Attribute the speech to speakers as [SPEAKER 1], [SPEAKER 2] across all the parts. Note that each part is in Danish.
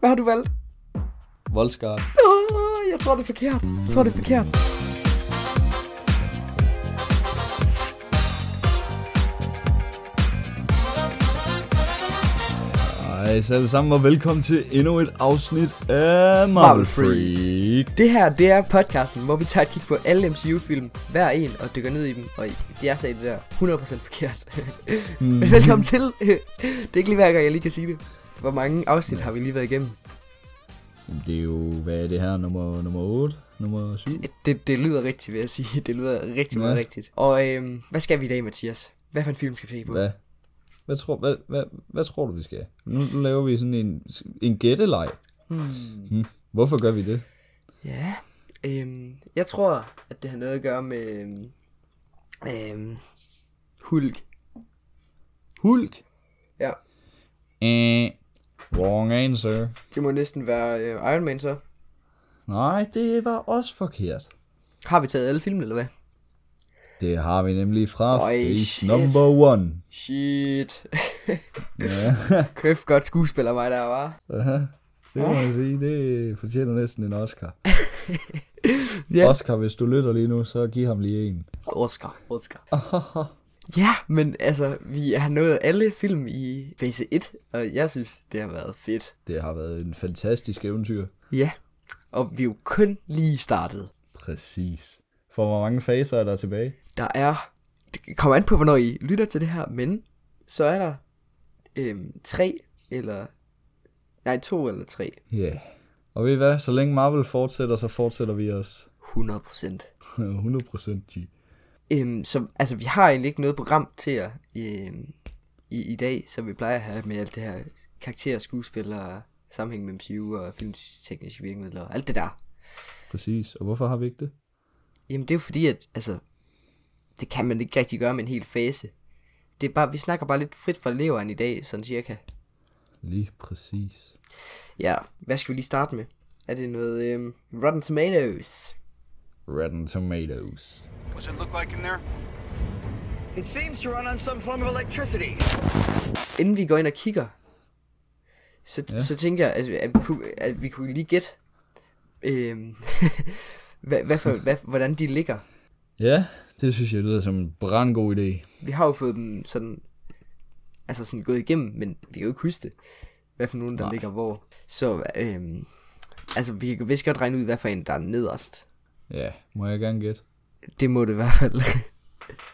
[SPEAKER 1] Hvad har du valgt?
[SPEAKER 2] Voldskart.
[SPEAKER 1] Åh, jeg tror, det er forkert. Jeg tror, det er forkert.
[SPEAKER 2] Hej så alle sammen og velkommen til endnu et afsnit af Marvel
[SPEAKER 1] Marvel Freak.
[SPEAKER 2] Freak.
[SPEAKER 1] Det her, det er podcasten, hvor vi tager et kig på alle MCU-film, hver en, og dykker ned i dem. Og det er sagde det der 100% forkert.
[SPEAKER 2] Mhm.
[SPEAKER 1] Men velkommen til. det er ikke lige hver gang, jeg lige kan sige det. Hvor mange afsnit har vi lige været igennem?
[SPEAKER 2] Det er jo, hvad er det her, nummer, nummer 8? Nummer 7?
[SPEAKER 1] Det, det lyder rigtigt, vil jeg sige. Det lyder rigtig meget
[SPEAKER 2] Ja.
[SPEAKER 1] rigtigt. Og øhm, hvad skal vi i dag, Mathias? Hvad for en film skal vi se på?
[SPEAKER 2] Hvad? Hvad tror, hvad, hvad, hvad tror du, vi skal? Nu laver vi sådan en, en gætteleg.
[SPEAKER 1] Hmm.
[SPEAKER 2] Hmm. Hvorfor gør vi det?
[SPEAKER 1] Ja, øhm, jeg tror, at det har noget at gøre med øhm, øhm, Hulk.
[SPEAKER 2] Hulk?
[SPEAKER 1] Ja,
[SPEAKER 2] Eh, wrong answer.
[SPEAKER 1] det må næsten være øh, Iron Man så.
[SPEAKER 2] Nej, det var også forkert.
[SPEAKER 1] Har vi taget alle filmene, eller hvad?
[SPEAKER 2] Det har vi nemlig fra
[SPEAKER 1] Øj,
[SPEAKER 2] Freak
[SPEAKER 1] shit.
[SPEAKER 2] number one.
[SPEAKER 1] Shit.
[SPEAKER 2] Ja.
[SPEAKER 1] Kæft godt skuespiller mig der, var.
[SPEAKER 2] Aha. Det må jeg sige, det fortjener næsten en Oscar.
[SPEAKER 1] Ja.
[SPEAKER 2] ja. Oscar, hvis du lytter lige nu, så giv ham lige en.
[SPEAKER 1] Oscar. Oscar. ja, men altså, vi har nået alle film i fase 1, og jeg synes, det har været fedt.
[SPEAKER 2] Det har været en fantastisk eventyr.
[SPEAKER 1] Ja, og vi er jo kun lige startet.
[SPEAKER 2] Præcis. For hvor mange faser er der tilbage?
[SPEAKER 1] Der er, det kommer an på, hvornår I lytter til det her, men så er der øhm, tre eller, nej, to eller tre.
[SPEAKER 2] Ja. Yeah. Og ved I hvad, så længe Marvel fortsætter, så fortsætter vi også
[SPEAKER 1] 100 procent.
[SPEAKER 2] 100% G.
[SPEAKER 1] Øhm, så, altså, vi har egentlig ikke noget program til jer øhm, i, i dag, som vi plejer at have med alt det her karakterer, skuespil og sammenhæng med MCU og filmtekniske virkemidler og alt det der.
[SPEAKER 2] Præcis. Og hvorfor har vi ikke det?
[SPEAKER 1] Jamen, det er jo fordi, at altså, det kan man ikke rigtig gøre med en hel fase. Det er bare, vi snakker bare lidt frit fra leveren i dag, sådan cirka.
[SPEAKER 2] Lige præcis.
[SPEAKER 1] Ja, hvad skal vi lige starte med? Er det noget øhm, Rotten Tomatoes?
[SPEAKER 2] Rotten Tomatoes.
[SPEAKER 3] What's it look like in there?
[SPEAKER 4] It seems to run on some form of electricity.
[SPEAKER 1] Inden vi går ind og kigger, så, ja. så tænker jeg, at, at, vi kunne, at vi kunne lige gætte, øhm, hvad, hvad for, hvad, hvordan de ligger.
[SPEAKER 2] Ja, det synes jeg lyder som en brandgod idé.
[SPEAKER 1] Vi har jo fået dem sådan, altså sådan gået igennem, men vi kan jo ikke huske det, hvad for nogen, der Nej. ligger hvor. Så øhm, altså, vi kan vist godt regne ud, hvad for en, der er nederst.
[SPEAKER 2] Ja, må jeg gerne gætte?
[SPEAKER 1] Det må det i hvert fald.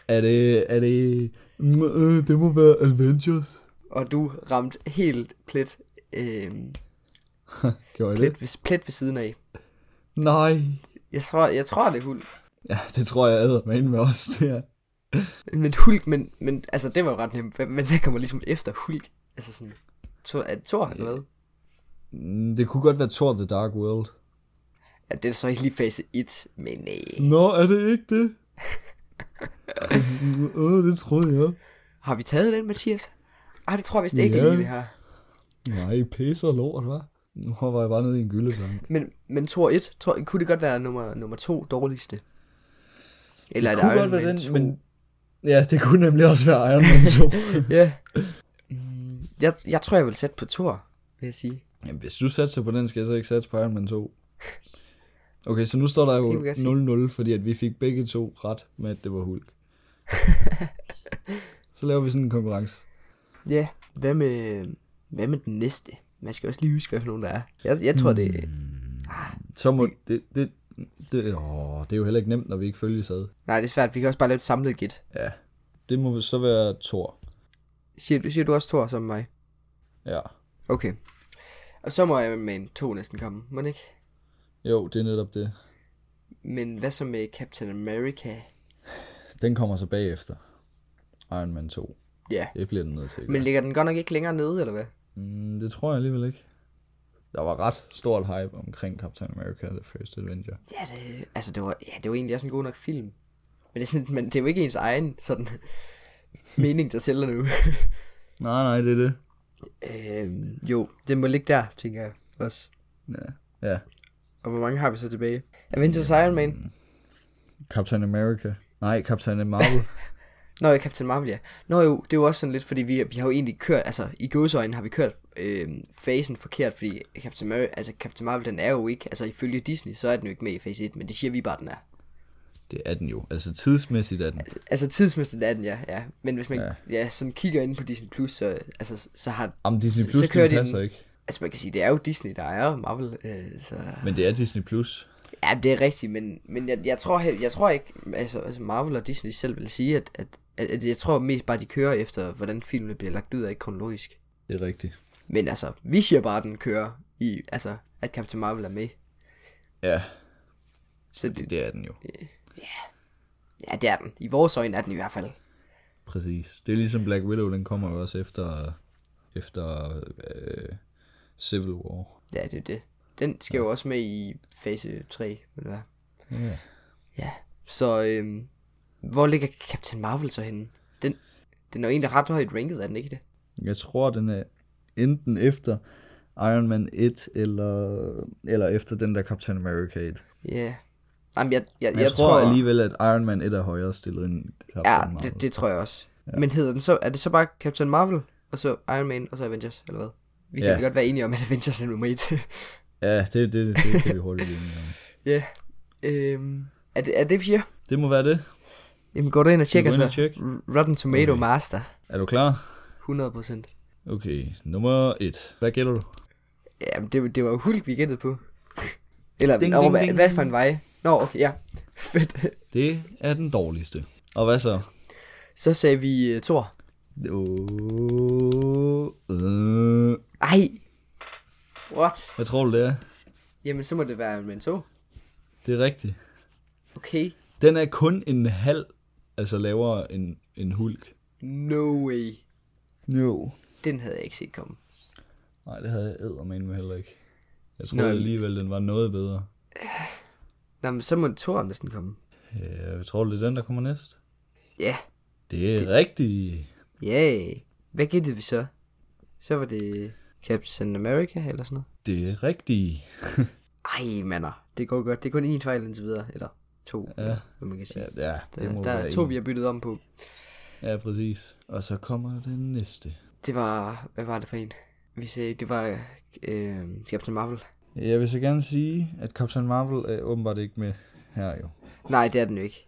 [SPEAKER 2] Er det... Er det... Mm, øh, det må være Avengers.
[SPEAKER 1] og du ramte helt plet, øhm,
[SPEAKER 2] Gjorde jeg det?
[SPEAKER 1] plet, ved, plet ved siden af.
[SPEAKER 2] Nej.
[SPEAKER 1] Jeg tror, jeg tror det er Hulk.
[SPEAKER 2] Ja, det tror jeg æder med med os, det her.
[SPEAKER 1] Men Hulk, men, men altså det var jo ret nemt. Hvad- Men hvad kommer ligesom efter Hulk? Altså sådan, to, er det Thor eller hvad?
[SPEAKER 2] Mm, Det kunne godt være Thor The Dark World.
[SPEAKER 1] Ja, det er så ikke lige fase 1, men øh,
[SPEAKER 2] Nå, er det ikke det? Åh, det troede jeg.
[SPEAKER 1] har vi taget den, Mathias? Ah, det tror jeg vist ikke
[SPEAKER 2] Ja.
[SPEAKER 1] lige, vi har.
[SPEAKER 2] Nej, pisser og lort, hva'? Nu var jeg bare nede i en gyldesang.
[SPEAKER 1] Men, men Thor 1, Thor, kunne det godt være nummer, nummer 2 dårligste? Eller er det Iron Man 2?
[SPEAKER 2] Ja, det kunne nemlig også være Iron Man 2.
[SPEAKER 1] Ja. Mm, Jeg, jeg tror, jeg vil sætte på Thor, vil jeg sige.
[SPEAKER 2] Jamen, hvis du satser på den, skal jeg så ikke satse på Iron Man 2. Okay, så nu står der
[SPEAKER 1] Det kan vi godt sige.
[SPEAKER 2] jo 0-0, fordi at vi fik begge to ret med, at det var Hulk. så laver vi sådan en konkurrence.
[SPEAKER 1] Ja, hvad med, hvad med den næste? Man skal også lige huske, hvad for nogen der er. Jeg, jeg tror, det,
[SPEAKER 2] Så må... Det, det, det, åh, det er jo heller ikke nemt, når vi ikke følges ad.
[SPEAKER 1] Nej, det er svært. Vi kan også bare lave et samlet gæt.
[SPEAKER 2] Ja. Det må så være Thor.
[SPEAKER 1] Siger, du- siger du også Thor som mig?
[SPEAKER 2] Ja.
[SPEAKER 1] Okay. Og så må Iron Man 2 næsten komme, må den ikke?
[SPEAKER 2] Jo, det er netop det.
[SPEAKER 1] Men hvad så med Captain America?
[SPEAKER 2] Den kommer så bagefter. Iron Man 2.
[SPEAKER 1] Ja.
[SPEAKER 2] Det bliver den nødt til. at
[SPEAKER 1] Men
[SPEAKER 2] gøre.
[SPEAKER 1] ligger den godt nok ikke længere nede, eller hvad?
[SPEAKER 2] Mm, det tror jeg alligevel ikke. Der var ret stort hype omkring Captain America The First Adventure.
[SPEAKER 1] Ja, det, altså, det var, ja, det var egentlig også en god nok film. Men det er, sådan, men det er jo ikke ens egen sådan, mening, der sælger nu.
[SPEAKER 2] Nej, nej, det er det.
[SPEAKER 1] øhm, jo, den må ligge der, tænker jeg også.
[SPEAKER 2] Ja. ja.
[SPEAKER 1] Og hvor mange har vi så tilbage? Avengers Iron Man?
[SPEAKER 2] Captain America. Nej, Captain Marvel.
[SPEAKER 1] Nå, ja, Captain Marvel, ja. Nå jo, det er jo også sådan lidt, fordi vi, vi har jo egentlig kørt, altså i gåsøjne har vi kørt øh, fasen forkert, fordi Captain Marvel, altså Captain Marvel, den er jo ikke, altså ifølge Disney, så er den jo ikke med i fase 1, men det siger vi bare, den er.
[SPEAKER 2] Det er den jo. Altså tidsmæssigt er den.
[SPEAKER 1] Altså tidsmæssigt er den, ja, ja. Men hvis man
[SPEAKER 2] Ja.
[SPEAKER 1] ja. Ja, sådan kigger ind på Disney Plus, så, altså, så har,
[SPEAKER 2] Jamen Disney
[SPEAKER 1] så-
[SPEAKER 2] Plus,
[SPEAKER 1] så kører
[SPEAKER 2] det
[SPEAKER 1] de
[SPEAKER 2] passer
[SPEAKER 1] den.
[SPEAKER 2] ikke.
[SPEAKER 1] altså man kan sige, det er jo Disney, der ejer Marvel, øh, så
[SPEAKER 2] Men det er Disney Plus.
[SPEAKER 1] ja, det er rigtigt, men, men jeg, jeg, tror, hel- jeg tror ikke, altså, altså Marvel og Disney selv vil sige, at, at, at, at jeg tror mest bare, de kører efter, hvordan filmene bliver lagt ud af, ikke kronologisk.
[SPEAKER 2] Det er rigtigt.
[SPEAKER 1] Men altså, vi siger bare, at den kører i, altså, at Captain Marvel er med.
[SPEAKER 2] Ja,
[SPEAKER 1] Så
[SPEAKER 2] det,
[SPEAKER 1] det,
[SPEAKER 2] det er den jo.
[SPEAKER 1] ja, det er den. I vores øjne er den i hvert fald.
[SPEAKER 2] Præcis. Det er ligesom Black Widow, den kommer jo også efter, efter øh, Civil War.
[SPEAKER 1] Ja, det er det. Den skal jo også med i fase 3, vil det være.
[SPEAKER 2] Ja.
[SPEAKER 1] Ja, så øhm, hvor ligger Captain Marvel så henne? Den, den er jo egentlig ret højt ranket, er den ikke det?
[SPEAKER 2] Jeg tror, den er enten efter Iron Man 1, eller, eller efter den der Captain America 1. Men
[SPEAKER 1] Ja. Yeah. Jamen, jeg, jeg,
[SPEAKER 2] jeg, jeg tror, tror alligevel, at Iron Man 1 er højere stillet end Captain
[SPEAKER 1] Ja,
[SPEAKER 2] Marvel.
[SPEAKER 1] det, det tror jeg også. Ja. Men hedder den så, er det så bare Captain Marvel, og så Iron Man, og så Avengers, eller hvad? Vi kan
[SPEAKER 2] Ja.
[SPEAKER 1] ja. godt være enige om, at Avengers er nummer 1.
[SPEAKER 2] Ja, det, det, det kan vi hurtigt blive enige om.
[SPEAKER 1] ja. Øhm, er, det, er det, vi siger?
[SPEAKER 2] Det må være det.
[SPEAKER 1] Jamen, går du ind og
[SPEAKER 2] Skal vi
[SPEAKER 1] tjekker
[SPEAKER 2] gå ind
[SPEAKER 1] så?
[SPEAKER 2] og tjekke?
[SPEAKER 1] R- Rotten Tomato
[SPEAKER 2] Okay.
[SPEAKER 1] okay. Master.
[SPEAKER 2] Er du klar?
[SPEAKER 1] 100 procent.
[SPEAKER 2] Okay, nummer 1. Hvad gælder du?
[SPEAKER 1] Jamen, det, det var jo Hulk, vi gættede på. Eller,
[SPEAKER 2] Ding,
[SPEAKER 1] ding, over,
[SPEAKER 2] ding,
[SPEAKER 1] hvad,
[SPEAKER 2] ding,
[SPEAKER 1] hvad
[SPEAKER 2] ding.
[SPEAKER 1] for en vej? Nå, okay, ja. Fedt.
[SPEAKER 2] Det er den dårligste. Og hvad så?
[SPEAKER 1] Så sagde vi uh, Thor.
[SPEAKER 2] Oh, øh.
[SPEAKER 1] Ej. What?
[SPEAKER 2] Hvad tror du, det er?
[SPEAKER 1] Jamen, så må det være Iron Man 2.
[SPEAKER 2] Det er rigtigt.
[SPEAKER 1] Okay.
[SPEAKER 2] Den er kun en halv, altså lavere end, end Hulk.
[SPEAKER 1] No way.
[SPEAKER 2] Jo.
[SPEAKER 1] Den havde jeg ikke set komme.
[SPEAKER 2] Nej, det havde jeg eddermame med heller ikke. Jeg
[SPEAKER 1] Nå,
[SPEAKER 2] troede
[SPEAKER 1] men-
[SPEAKER 2] alligevel, den var noget bedre.
[SPEAKER 1] Nå, men så må Thor næsten komme.
[SPEAKER 2] Øh, Jeg tror, det er den, der kommer næst.
[SPEAKER 1] Ja.
[SPEAKER 2] Det er det... rigtigt.
[SPEAKER 1] Yeah. Hvad gættede vi så? Så var det Captain America eller sådan noget.
[SPEAKER 2] Det er rigtigt.
[SPEAKER 1] Ej, mander. Det går godt. Det er kun én fejl indtil videre. Eller to, ja. hvad man kan sige.
[SPEAKER 2] Ja,
[SPEAKER 1] Ja,
[SPEAKER 2] ja det
[SPEAKER 1] der,
[SPEAKER 2] må
[SPEAKER 1] der
[SPEAKER 2] være
[SPEAKER 1] er to,
[SPEAKER 2] en.
[SPEAKER 1] vi har byttet om på.
[SPEAKER 2] Ja, præcis. Og så kommer den næste.
[SPEAKER 1] Det var... Hvad var det for en? Vi sagde, det var øh, Captain Marvel.
[SPEAKER 2] Jeg vil så gerne sige, at Captain Marvel er åbenbart ikke med her jo.
[SPEAKER 1] Nej, det er den jo ikke.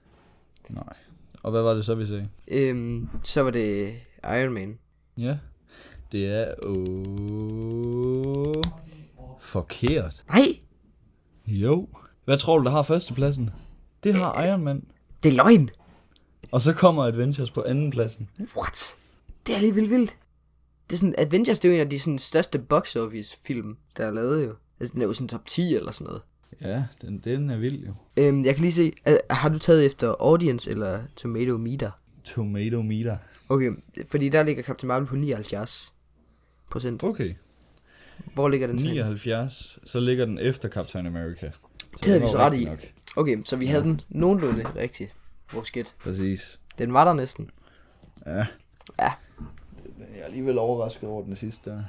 [SPEAKER 2] Nej. Og hvad var det så, vi sagde?
[SPEAKER 1] Øhm, så var det Iron Man.
[SPEAKER 2] Ja, det er... Åh... Forkert.
[SPEAKER 1] Nej,
[SPEAKER 2] Jo. Øh. Hvad tror du, der har førstepladsen? Det har Iron Man.
[SPEAKER 1] Det er løgn.
[SPEAKER 2] Og så kommer Adventures på andenpladsen.
[SPEAKER 1] What? Det er lige vildt vildt. Det er sådan, Avengers, det er jo en af de sådan, største box office film, der er lavet jo. Altså, den er jo sådan top 10 eller sådan noget.
[SPEAKER 2] Ja, den, den er vild jo.
[SPEAKER 1] Øhm, jeg kan lige se, er, har du taget efter audience eller tomato meter?
[SPEAKER 2] Tomato meter.
[SPEAKER 1] Okay, fordi der ligger Captain Marvel på 79 procent.
[SPEAKER 2] Okay,
[SPEAKER 1] Hvor ligger den så? hen?
[SPEAKER 2] 79. Så ligger den efter Captain America. Så
[SPEAKER 1] Det havde
[SPEAKER 2] var
[SPEAKER 1] vi så
[SPEAKER 2] jo
[SPEAKER 1] ret
[SPEAKER 2] rigtig
[SPEAKER 1] i. Okay, så vi havde den nogenlunde rigtigt. Vores gæt.
[SPEAKER 2] Præcis.
[SPEAKER 1] Den var der næsten.
[SPEAKER 2] Ja.
[SPEAKER 1] Ja.
[SPEAKER 2] Jeg er alligevel overrasket over den sidste der.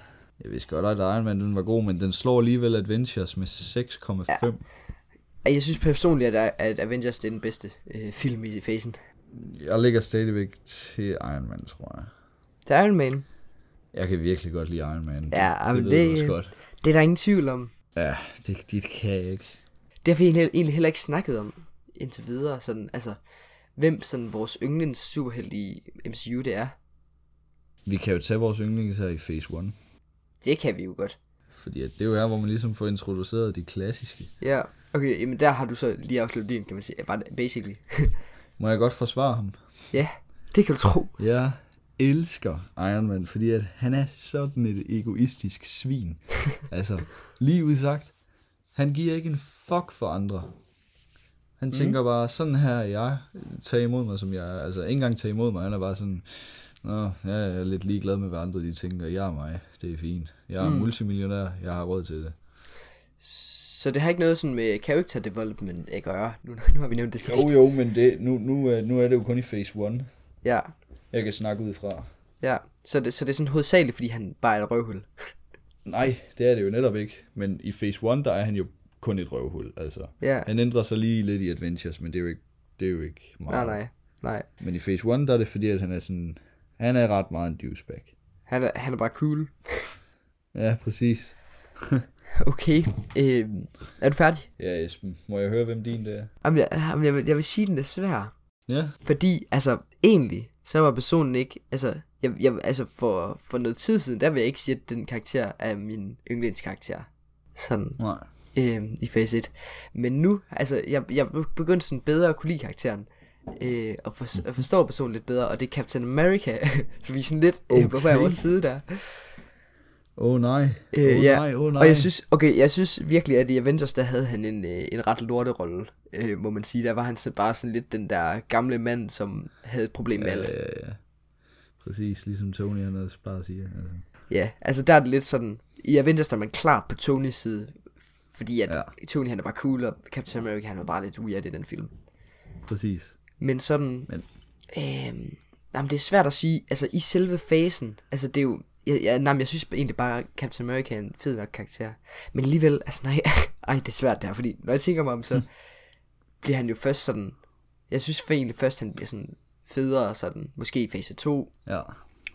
[SPEAKER 2] Jeg vidste godt, at Iron Man den var god, men den slår alligevel Adventures med 6,5.
[SPEAKER 1] Ej, Jeg synes personligt, at, at Avengers det er den bedste øh, film i fasen.
[SPEAKER 2] Ja. Jeg ligger stadigvæk til Iron Man, tror jeg.
[SPEAKER 1] Det er Iron Man.
[SPEAKER 2] Jeg kan virkelig godt lide Iron Man.
[SPEAKER 1] Ja,
[SPEAKER 2] det,
[SPEAKER 1] men
[SPEAKER 2] det,
[SPEAKER 1] det-
[SPEAKER 2] ved du også godt.
[SPEAKER 1] Det er der ingen tvivl om.
[SPEAKER 2] Ja, det, det kan jeg ikke.
[SPEAKER 1] Det har vi egentlig- egentlig heller ikke snakket om indtil videre, sådan, altså, hvem sådan vores yndlings superhelt i MCU det er.
[SPEAKER 2] Vi kan jo tage vores yndlings her i Phase 1.
[SPEAKER 1] Det kan vi jo godt.
[SPEAKER 2] Fordi at det er jo her, hvor man ligesom får introduceret de klassiske.
[SPEAKER 1] Ja, okay, jamen der har du så lige afsluttet din, kan man sige, Ja, bare basically.
[SPEAKER 2] Må jeg godt forsvare ham?
[SPEAKER 1] ja, det kan du tro.
[SPEAKER 2] Jeg elsker Iron Man, fordi at han er sådan et egoistisk svin. altså, lige udsagt, han giver ikke en fuck for andre. Han tænker bare, sådan her er jeg, tag imod mig, som jeg er. Altså, ikke engang tag imod mig, han er bare sådan, Nå, jeg er lidt ligeglad med, hvad andre de tænker. Jeg er mig, det er fint. Jeg er mm. multimillionær, jeg har råd til det.
[SPEAKER 1] Så det har ikke noget sådan med character development at gøre, nu, nu har vi nævnt det sidst.
[SPEAKER 2] Jo, jo, men det, nu, øh, nu, er- nu er det jo kun i phase 1.
[SPEAKER 1] Ja,
[SPEAKER 2] Jeg kan snakke ud fra.
[SPEAKER 1] ja, så det, så det er sådan hovedsageligt, fordi han bare er et røvhul.
[SPEAKER 2] Nej, det er det jo netop ikke. Men i Phase 1, der er han jo kun et røvhul, altså.
[SPEAKER 1] Ja.
[SPEAKER 2] Han ændrer sig lige lidt i Adventures, men det er jo ikke, det er jo ikke
[SPEAKER 1] Nej,
[SPEAKER 2] meget.
[SPEAKER 1] nej, nej.
[SPEAKER 2] Men i Phase 1, der er det fordi, at han er sådan... Han er ret meget en douchebag.
[SPEAKER 1] Han er, han er bare cool.
[SPEAKER 2] Ja, præcis.
[SPEAKER 1] Okay, øh, er du færdig?
[SPEAKER 2] Ja, Esben, må jeg høre, hvem din det er?
[SPEAKER 1] Jamen, jeg, jamen, jeg, vil, jeg vil sige, den er svær.
[SPEAKER 2] Ja,
[SPEAKER 1] Fordi, altså, egentlig, så var personen ikke, altså, jeg, jeg, altså for, for noget tid siden, der vil jeg ikke sige, at den karakter er min yndlingskarakter. Sådan.
[SPEAKER 2] nej.
[SPEAKER 1] øh, i fase 1. Men nu, altså, jeg, jeg begyndte sådan bedre at kunne lide karakteren. Øh, og, for, og forstår personen lidt bedre, og det er Captain America, så vi er sådan lidt okay. øh, på hver
[SPEAKER 2] Okay.
[SPEAKER 1] vores side der.
[SPEAKER 2] Åh oh, nej, åh
[SPEAKER 1] Øh,
[SPEAKER 2] oh,
[SPEAKER 1] ja.
[SPEAKER 2] nej, åh oh, nej.
[SPEAKER 1] Og jeg synes, okay, jeg synes virkelig, at i Avengers, der havde han en, øh, en ret lorterolle, øh, må man sige. Der var han så bare sådan lidt den der gamle mand, som havde et problem med
[SPEAKER 2] Ja,
[SPEAKER 1] alt.
[SPEAKER 2] ja, ja. Præcis, ligesom Tony han også bare siger. Altså.
[SPEAKER 1] Ja, altså der er det lidt sådan, i Avengers der er man klart på Tonys side, fordi at ja.
[SPEAKER 2] Ja.
[SPEAKER 1] Tony han er bare cool, og Captain America han var bare lidt weird i den film.
[SPEAKER 2] Præcis.
[SPEAKER 1] Men sådan... Men.
[SPEAKER 2] Men-
[SPEAKER 1] Øhm, jamen, det er svært at sige. Altså, i selve fasen... Altså, det er jo... Jeg, jeg, nej, men jeg synes egentlig bare, at Captain America er en fed nok karakter. Men alligevel... Altså, nej. Ej, det er svært der, fordi når jeg tænker mig om, så bliver han jo først sådan... Jeg synes for egentlig først, han bliver sådan federe sådan. Måske i fase 2.
[SPEAKER 2] Ja.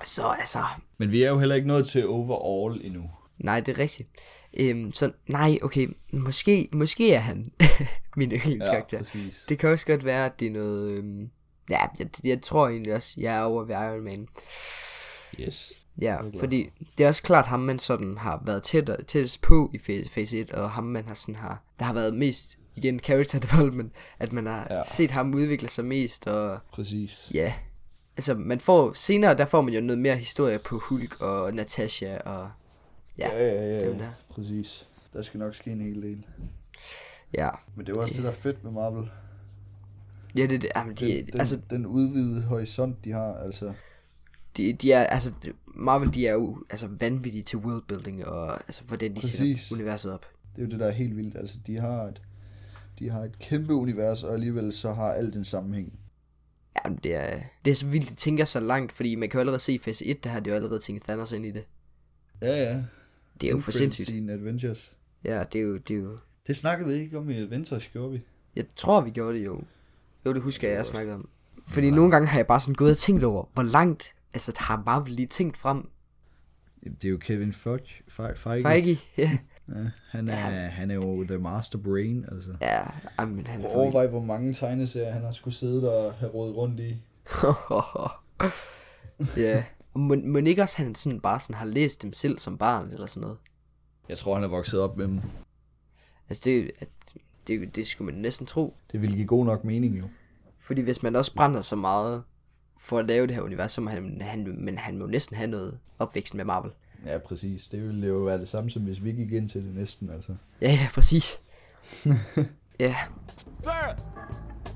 [SPEAKER 1] Så altså...
[SPEAKER 2] Men vi er jo heller ikke nået til overall endnu.
[SPEAKER 1] Nej, det er rigtigt. Øhm, så nej, okay. Måske, måske er han min yndlingskarakter.
[SPEAKER 2] præcis.
[SPEAKER 1] Det kan også godt være, at det er noget... Øhm, ja, jeg, jeg tror egentlig også, jeg er over ved Iron Man.
[SPEAKER 2] Yes.
[SPEAKER 1] Ja,
[SPEAKER 2] er glad
[SPEAKER 1] fordi det er også klart ham, man sådan har været tæt, tættest på i fase, fase 1, og ham, man har sådan har... Der har været mest, igen, character development, at man har ja.
[SPEAKER 2] Ja.
[SPEAKER 1] set ham udvikle sig mest, og
[SPEAKER 2] Præcis.
[SPEAKER 1] ja... Altså, man får, senere der får man jo noget mere historie på Hulk og Natasha og... Ja, dem der.
[SPEAKER 2] Præcis.
[SPEAKER 5] Der skal nok ske en hel del.
[SPEAKER 1] Ja,
[SPEAKER 5] Men det er jo også det, der er fedt med Marvel.
[SPEAKER 1] ja det, det, jamen, de,
[SPEAKER 5] Den, den,
[SPEAKER 1] altså,
[SPEAKER 5] altså, den udvidede horisont, de har, altså.
[SPEAKER 1] de, de er, altså, Marvel, de er jo altså, vanvittige til worldbuilding, og altså, hvordan de
[SPEAKER 5] Præcis.
[SPEAKER 1] sætter universet op.
[SPEAKER 5] Det er jo det, der er helt vildt. Altså, de har et, de har et kæmpe univers, og alligevel så har alt en sammenhæng.
[SPEAKER 1] Jamen, det er, det er så vildt, de tænker så langt, fordi man kan jo allerede se i fase 1, der har de jo allerede tænkt Thanos ind i det.
[SPEAKER 2] Ja, ja.
[SPEAKER 1] Det er jo for sindssygt.
[SPEAKER 2] Sin Adventures.
[SPEAKER 1] Ja, det er jo, det er jo...
[SPEAKER 2] Det snakkede vi ikke om i Adventures, gjorde vi?
[SPEAKER 1] Jeg tror, vi gjorde det jo. Jo, det husker jeg, jeg snakkede om. Fordi nogle gange har jeg bare sådan gået og tænkt over, hvor langt, altså har Marvel lige tænkt frem.
[SPEAKER 2] Det er jo Kevin Feige. Feige. Feige.
[SPEAKER 1] Feige, ja.
[SPEAKER 2] Ja, han, er, ja. han er jo the master brain, altså.
[SPEAKER 1] Ja, ej, men han er
[SPEAKER 5] Og
[SPEAKER 1] for
[SPEAKER 5] overvej, hvor mange tegneserier han har skulle sidde og have rodet rundt i.
[SPEAKER 1] vild. Ja. Må, må ikke også han sådan bare sådan har læst dem selv som barn eller sådan noget?
[SPEAKER 2] Jeg tror, han er vokset op med dem.
[SPEAKER 1] Altså det, at, det, det skulle man næsten tro.
[SPEAKER 2] Det ville give god nok mening, jo.
[SPEAKER 1] Fordi hvis man også brænder så meget for at lave det her univers, så må han, han, men han må næsten have noget opvækst med Marvel.
[SPEAKER 2] Ja, præcis. Det ville jo være det samme, som hvis vi gik ind til det næsten, altså.
[SPEAKER 1] Ja, ja, præcis. ja,
[SPEAKER 6] Sir,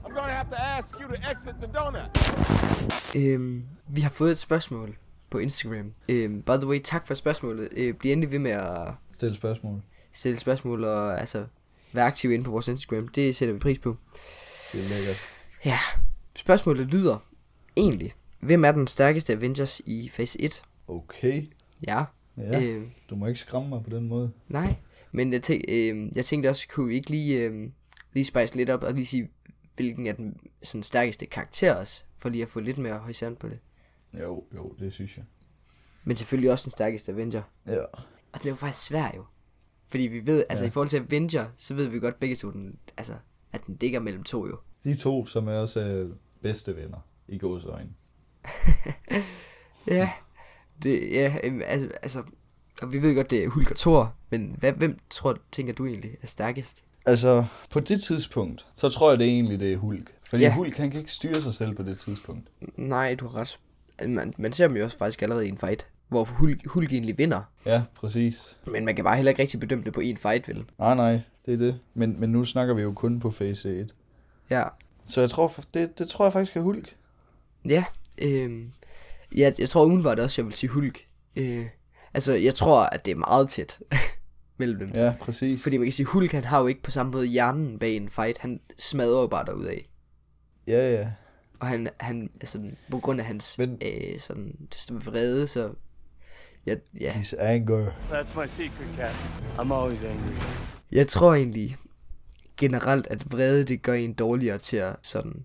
[SPEAKER 6] I'm gonna have to ask you to exit the donut.
[SPEAKER 1] øhm, vi har fået et spørgsmål på Instagram. Øhm, by the way, tak for spørgsmålet. Øh, bliv endelig ved med at
[SPEAKER 2] Stil spørgsmål.
[SPEAKER 1] stille spørgsmål og altså, være aktiv inde på vores Instagram. Det sætter vi pris på.
[SPEAKER 2] Det er lækkert.
[SPEAKER 1] Ja, spørgsmålet lyder egentlig, hvem er den stærkeste Avengers i fase 1?
[SPEAKER 2] Okay.
[SPEAKER 1] Ja,
[SPEAKER 2] Ja.
[SPEAKER 1] Øh,
[SPEAKER 2] Du må ikke skræmme mig på den måde.
[SPEAKER 1] Nej, men jeg, tænk, øh, jeg tænkte også, kunne vi ikke lige, øh, lige spice lidt op og lige sige, hvilken er den sådan, stærkeste karakter også, for lige at få lidt mere horisont på det.
[SPEAKER 2] Jo, jo, det synes jeg.
[SPEAKER 1] Men selvfølgelig også den stærkeste Avenger.
[SPEAKER 2] Ja.
[SPEAKER 1] Og det er jo faktisk svært jo. Fordi vi ved, altså ja. i forhold til Avenger, så ved vi godt begge to, den, altså, at den ligger mellem to jo.
[SPEAKER 2] De to, som er også øh, bedste venner i gods øjne.
[SPEAKER 1] Ja, det, ja øhm, altså, altså, og vi ved godt, det er Hulk og Thor, men hvad, hvem tror, tænker du egentlig er stærkest?
[SPEAKER 2] Altså, på det tidspunkt, så tror jeg det egentlig, det er Hulk. Fordi
[SPEAKER 1] Ja.
[SPEAKER 2] ja. Hulk, han kan ikke styre sig selv på det tidspunkt.
[SPEAKER 1] Nej, du har ret. Man, man ser dem jo også faktisk allerede i en fight, hvor Hulk, Hulk egentlig vinder,
[SPEAKER 2] Ja, præcis.
[SPEAKER 1] Men man kan bare heller ikke rigtig bedømme det på én fight, vel?
[SPEAKER 2] Nej, nej, det er det. Men, men nu snakker vi jo kun på fase 1.
[SPEAKER 1] Ja.
[SPEAKER 2] Så jeg tror, det, det tror jeg faktisk er Hulk.
[SPEAKER 1] Ja, øhm, ja jeg tror umiddelbart også, jeg vil sige Hulk. Øh, altså, jeg tror, at det er meget tæt mellem dem. Ja.
[SPEAKER 2] Ja, præcis.
[SPEAKER 1] Fordi man kan sige, Hulk han har jo ikke på samme måde hjernen bag en fight. Han smadrer jo bare derudad.
[SPEAKER 2] Ja, ja.
[SPEAKER 1] Og han, han altså, på grund af hans Men...
[SPEAKER 2] Men-
[SPEAKER 1] øh, sådan, vrede, så... Ja, ja.
[SPEAKER 2] His anger.
[SPEAKER 4] That's my secret, Cap. I'm always angry.
[SPEAKER 1] Jeg tror egentlig generelt, at vrede, det gør en dårligere til at sådan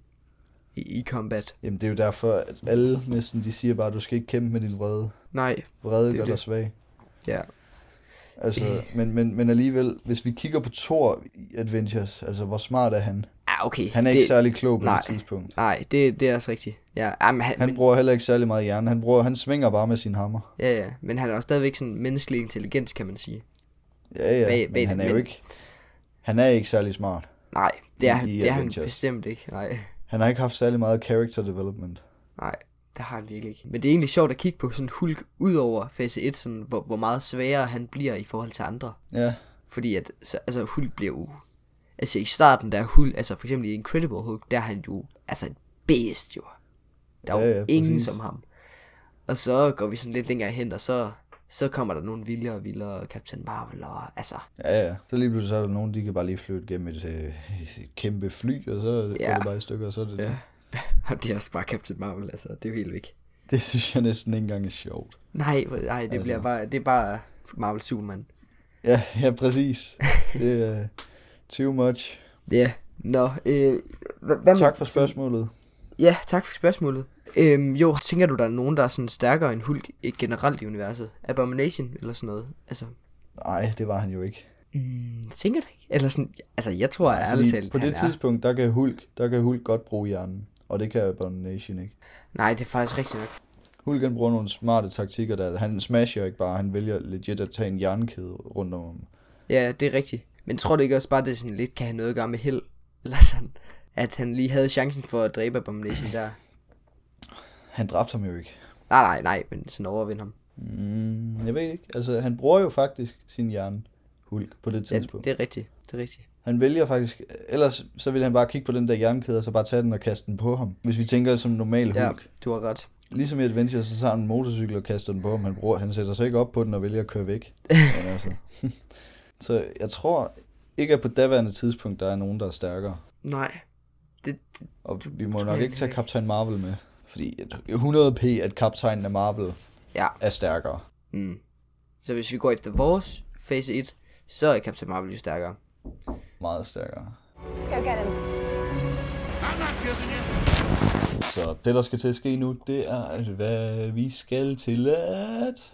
[SPEAKER 1] i, i combat.
[SPEAKER 2] Jamen, det er jo derfor, at alle næsten de siger bare, at du skal ikke kæmpe med din vrede.
[SPEAKER 1] Nej,
[SPEAKER 2] Vrede
[SPEAKER 1] Det er
[SPEAKER 2] gør
[SPEAKER 1] det.
[SPEAKER 2] dig svag.
[SPEAKER 1] ja.
[SPEAKER 2] Altså, men, men, men alligevel, hvis vi kigger på Thor Adventures, altså hvor smart er han?
[SPEAKER 1] Ah, okay.
[SPEAKER 2] Han er ikke
[SPEAKER 1] det,
[SPEAKER 2] særlig klog på
[SPEAKER 1] nej.
[SPEAKER 2] det tidspunkt.
[SPEAKER 1] Nej, det, det er også rigtigt. Ja, ah, men han,
[SPEAKER 2] Han
[SPEAKER 1] han...
[SPEAKER 2] bruger heller ikke særlig meget hjerne. Han, bruger, han svinger bare med sin hammer.
[SPEAKER 1] Ja, ja, men han er jo stadigvæk sådan menneskelig intelligens, kan man sige.
[SPEAKER 2] Ja, ja,
[SPEAKER 1] Bag-
[SPEAKER 2] men
[SPEAKER 1] bag det,
[SPEAKER 2] han er jo
[SPEAKER 1] men-
[SPEAKER 2] ikke, han er ikke særlig smart.
[SPEAKER 1] Nej, det er,
[SPEAKER 2] I- i
[SPEAKER 1] det er han
[SPEAKER 2] Avengers.
[SPEAKER 1] bestemt ikke. Nej,
[SPEAKER 2] Han har ikke haft særlig meget character development.
[SPEAKER 1] nej, det har han virkelig ikke. Men det er egentlig sjovt at kigge på sådan Hulk ud over fase 1, sådan, hvor, hvor meget sværere han bliver i forhold til andre.
[SPEAKER 2] Ja,
[SPEAKER 1] Fordi at, så, altså Hulk bliver jo... Altså i starten, der er Hulk, altså for eksempel i Incredible Hulk, der er han jo, altså et beast jo. Der er jo
[SPEAKER 2] Ja,
[SPEAKER 1] ja,
[SPEAKER 2] ja,
[SPEAKER 1] ja, ingen
[SPEAKER 2] præcis.
[SPEAKER 1] som ham. Og så går vi sådan lidt længere hen, og så, så kommer der nogle vildere og vildere Captain Marvel, og altså,
[SPEAKER 2] ja, ja. Så lige pludselig så er der nogen, de kan bare lige flytte gennem et, øh, et kæmpe fly, og så ja.
[SPEAKER 1] Ja.
[SPEAKER 2] går det bare i stykker, og så er det ja. det.
[SPEAKER 1] og det er også bare Captain Marvel, altså, det er jo helt væk.
[SPEAKER 2] Det synes jeg næsten ikke engang er sjovt.
[SPEAKER 1] Nej, hvor- nej, det altså. bliver bare, det er bare Marvel Superman.
[SPEAKER 2] Ja, ja, præcis. Det er too much.
[SPEAKER 1] Ja, yeah. nå, øh, hvad, hvad
[SPEAKER 2] Tak for spørgsmålet.
[SPEAKER 1] Ja, tak for spørgsmålet. Øhm, jo, tænker du, der er nogen, der er sådan stærkere end Hulk i- generelt i universet? Abomination eller sådan noget? Altså,
[SPEAKER 2] Nej, det var han jo ikke.
[SPEAKER 1] mm, tænker du ikke? Eller sådan, altså jeg tror jeg ærligt
[SPEAKER 2] Fordi
[SPEAKER 1] talt,
[SPEAKER 2] på
[SPEAKER 1] han
[SPEAKER 2] det
[SPEAKER 1] er-
[SPEAKER 2] tidspunkt, der kan, Hulk, der kan Hulk godt bruge hjernen. Og det kan Abomination ikke.
[SPEAKER 1] Nej, det er faktisk rigtigt nok.
[SPEAKER 2] Hulk han bruger nogle smarte taktikker der. Han smasher ikke bare, han vælger legit at tage en jernkæde rundt om ham.
[SPEAKER 1] Ja, det er rigtigt. Men tror du ikke også bare, det sådan lidt kan have noget at gøre med held? Eller sådan, at han lige havde chancen for at dræbe Abomination der?
[SPEAKER 2] Han dræbte ham jo ikke.
[SPEAKER 1] Nej, nej, nej, men sådan overvinde ham.
[SPEAKER 2] Mm, jeg ved ikke. Altså, han bruger jo faktisk sin hjerne, Hulk, på det
[SPEAKER 1] Ja,
[SPEAKER 2] tidspunkt.
[SPEAKER 1] det er rigtigt, det er rigtigt.
[SPEAKER 2] Han vælger faktisk, ellers så ville han bare kigge på den der jernkæde, og så bare tage den og kaste den på ham. Hvis vi tænker som normal Hulk.
[SPEAKER 1] Ja, du har ret.
[SPEAKER 2] Ligesom i Adventure, så tager han en motorcykel og kaster den på ham. Han, bruger, han sætter sig ikke op på den og vælger at køre væk. Men altså. så jeg tror ikke, at på daværende tidspunkt, der er nogen, der er stærkere.
[SPEAKER 1] Nej, det,
[SPEAKER 2] Og vi må
[SPEAKER 1] tror
[SPEAKER 2] nok
[SPEAKER 1] jeg
[SPEAKER 2] ikke tage
[SPEAKER 1] ikke.
[SPEAKER 2] Captain Marvel med. Fordi at 100p, at kaptajnen af Marvel
[SPEAKER 1] Ja.
[SPEAKER 2] er stærkere.
[SPEAKER 1] Mm. Så hvis vi går efter vores fase 1, så er Captain Marvel jo stærkere.
[SPEAKER 2] Meget stærkere.
[SPEAKER 7] Go get him.
[SPEAKER 2] Så det, der skal til at ske nu, det er, at hvad vi skal til at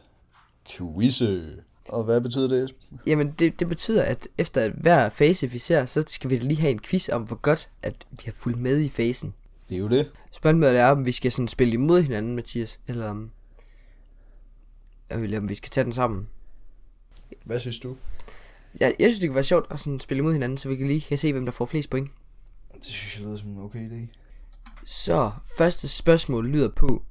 [SPEAKER 2] quizze. Og hvad betyder det, Esben?
[SPEAKER 1] Jamen, det, det betyder, at efter at hver fase, vi ser, så skal vi lige have en quiz om, hvor godt, at vi har fulgt med i fasen.
[SPEAKER 2] Det er jo det.
[SPEAKER 1] Spørgsmålet er, om vi skal sådan spille imod hinanden, Mathias, eller om, eller om vi skal tage den sammen.
[SPEAKER 2] Hvad synes du?
[SPEAKER 1] Jeg, jeg synes, det kunne være sjovt at sådan spille imod hinanden, så vi kan lige kan se, hvem der får flest point.
[SPEAKER 2] Det synes jeg lyder som en okay idé.
[SPEAKER 1] Så, første spørgsmål lyder på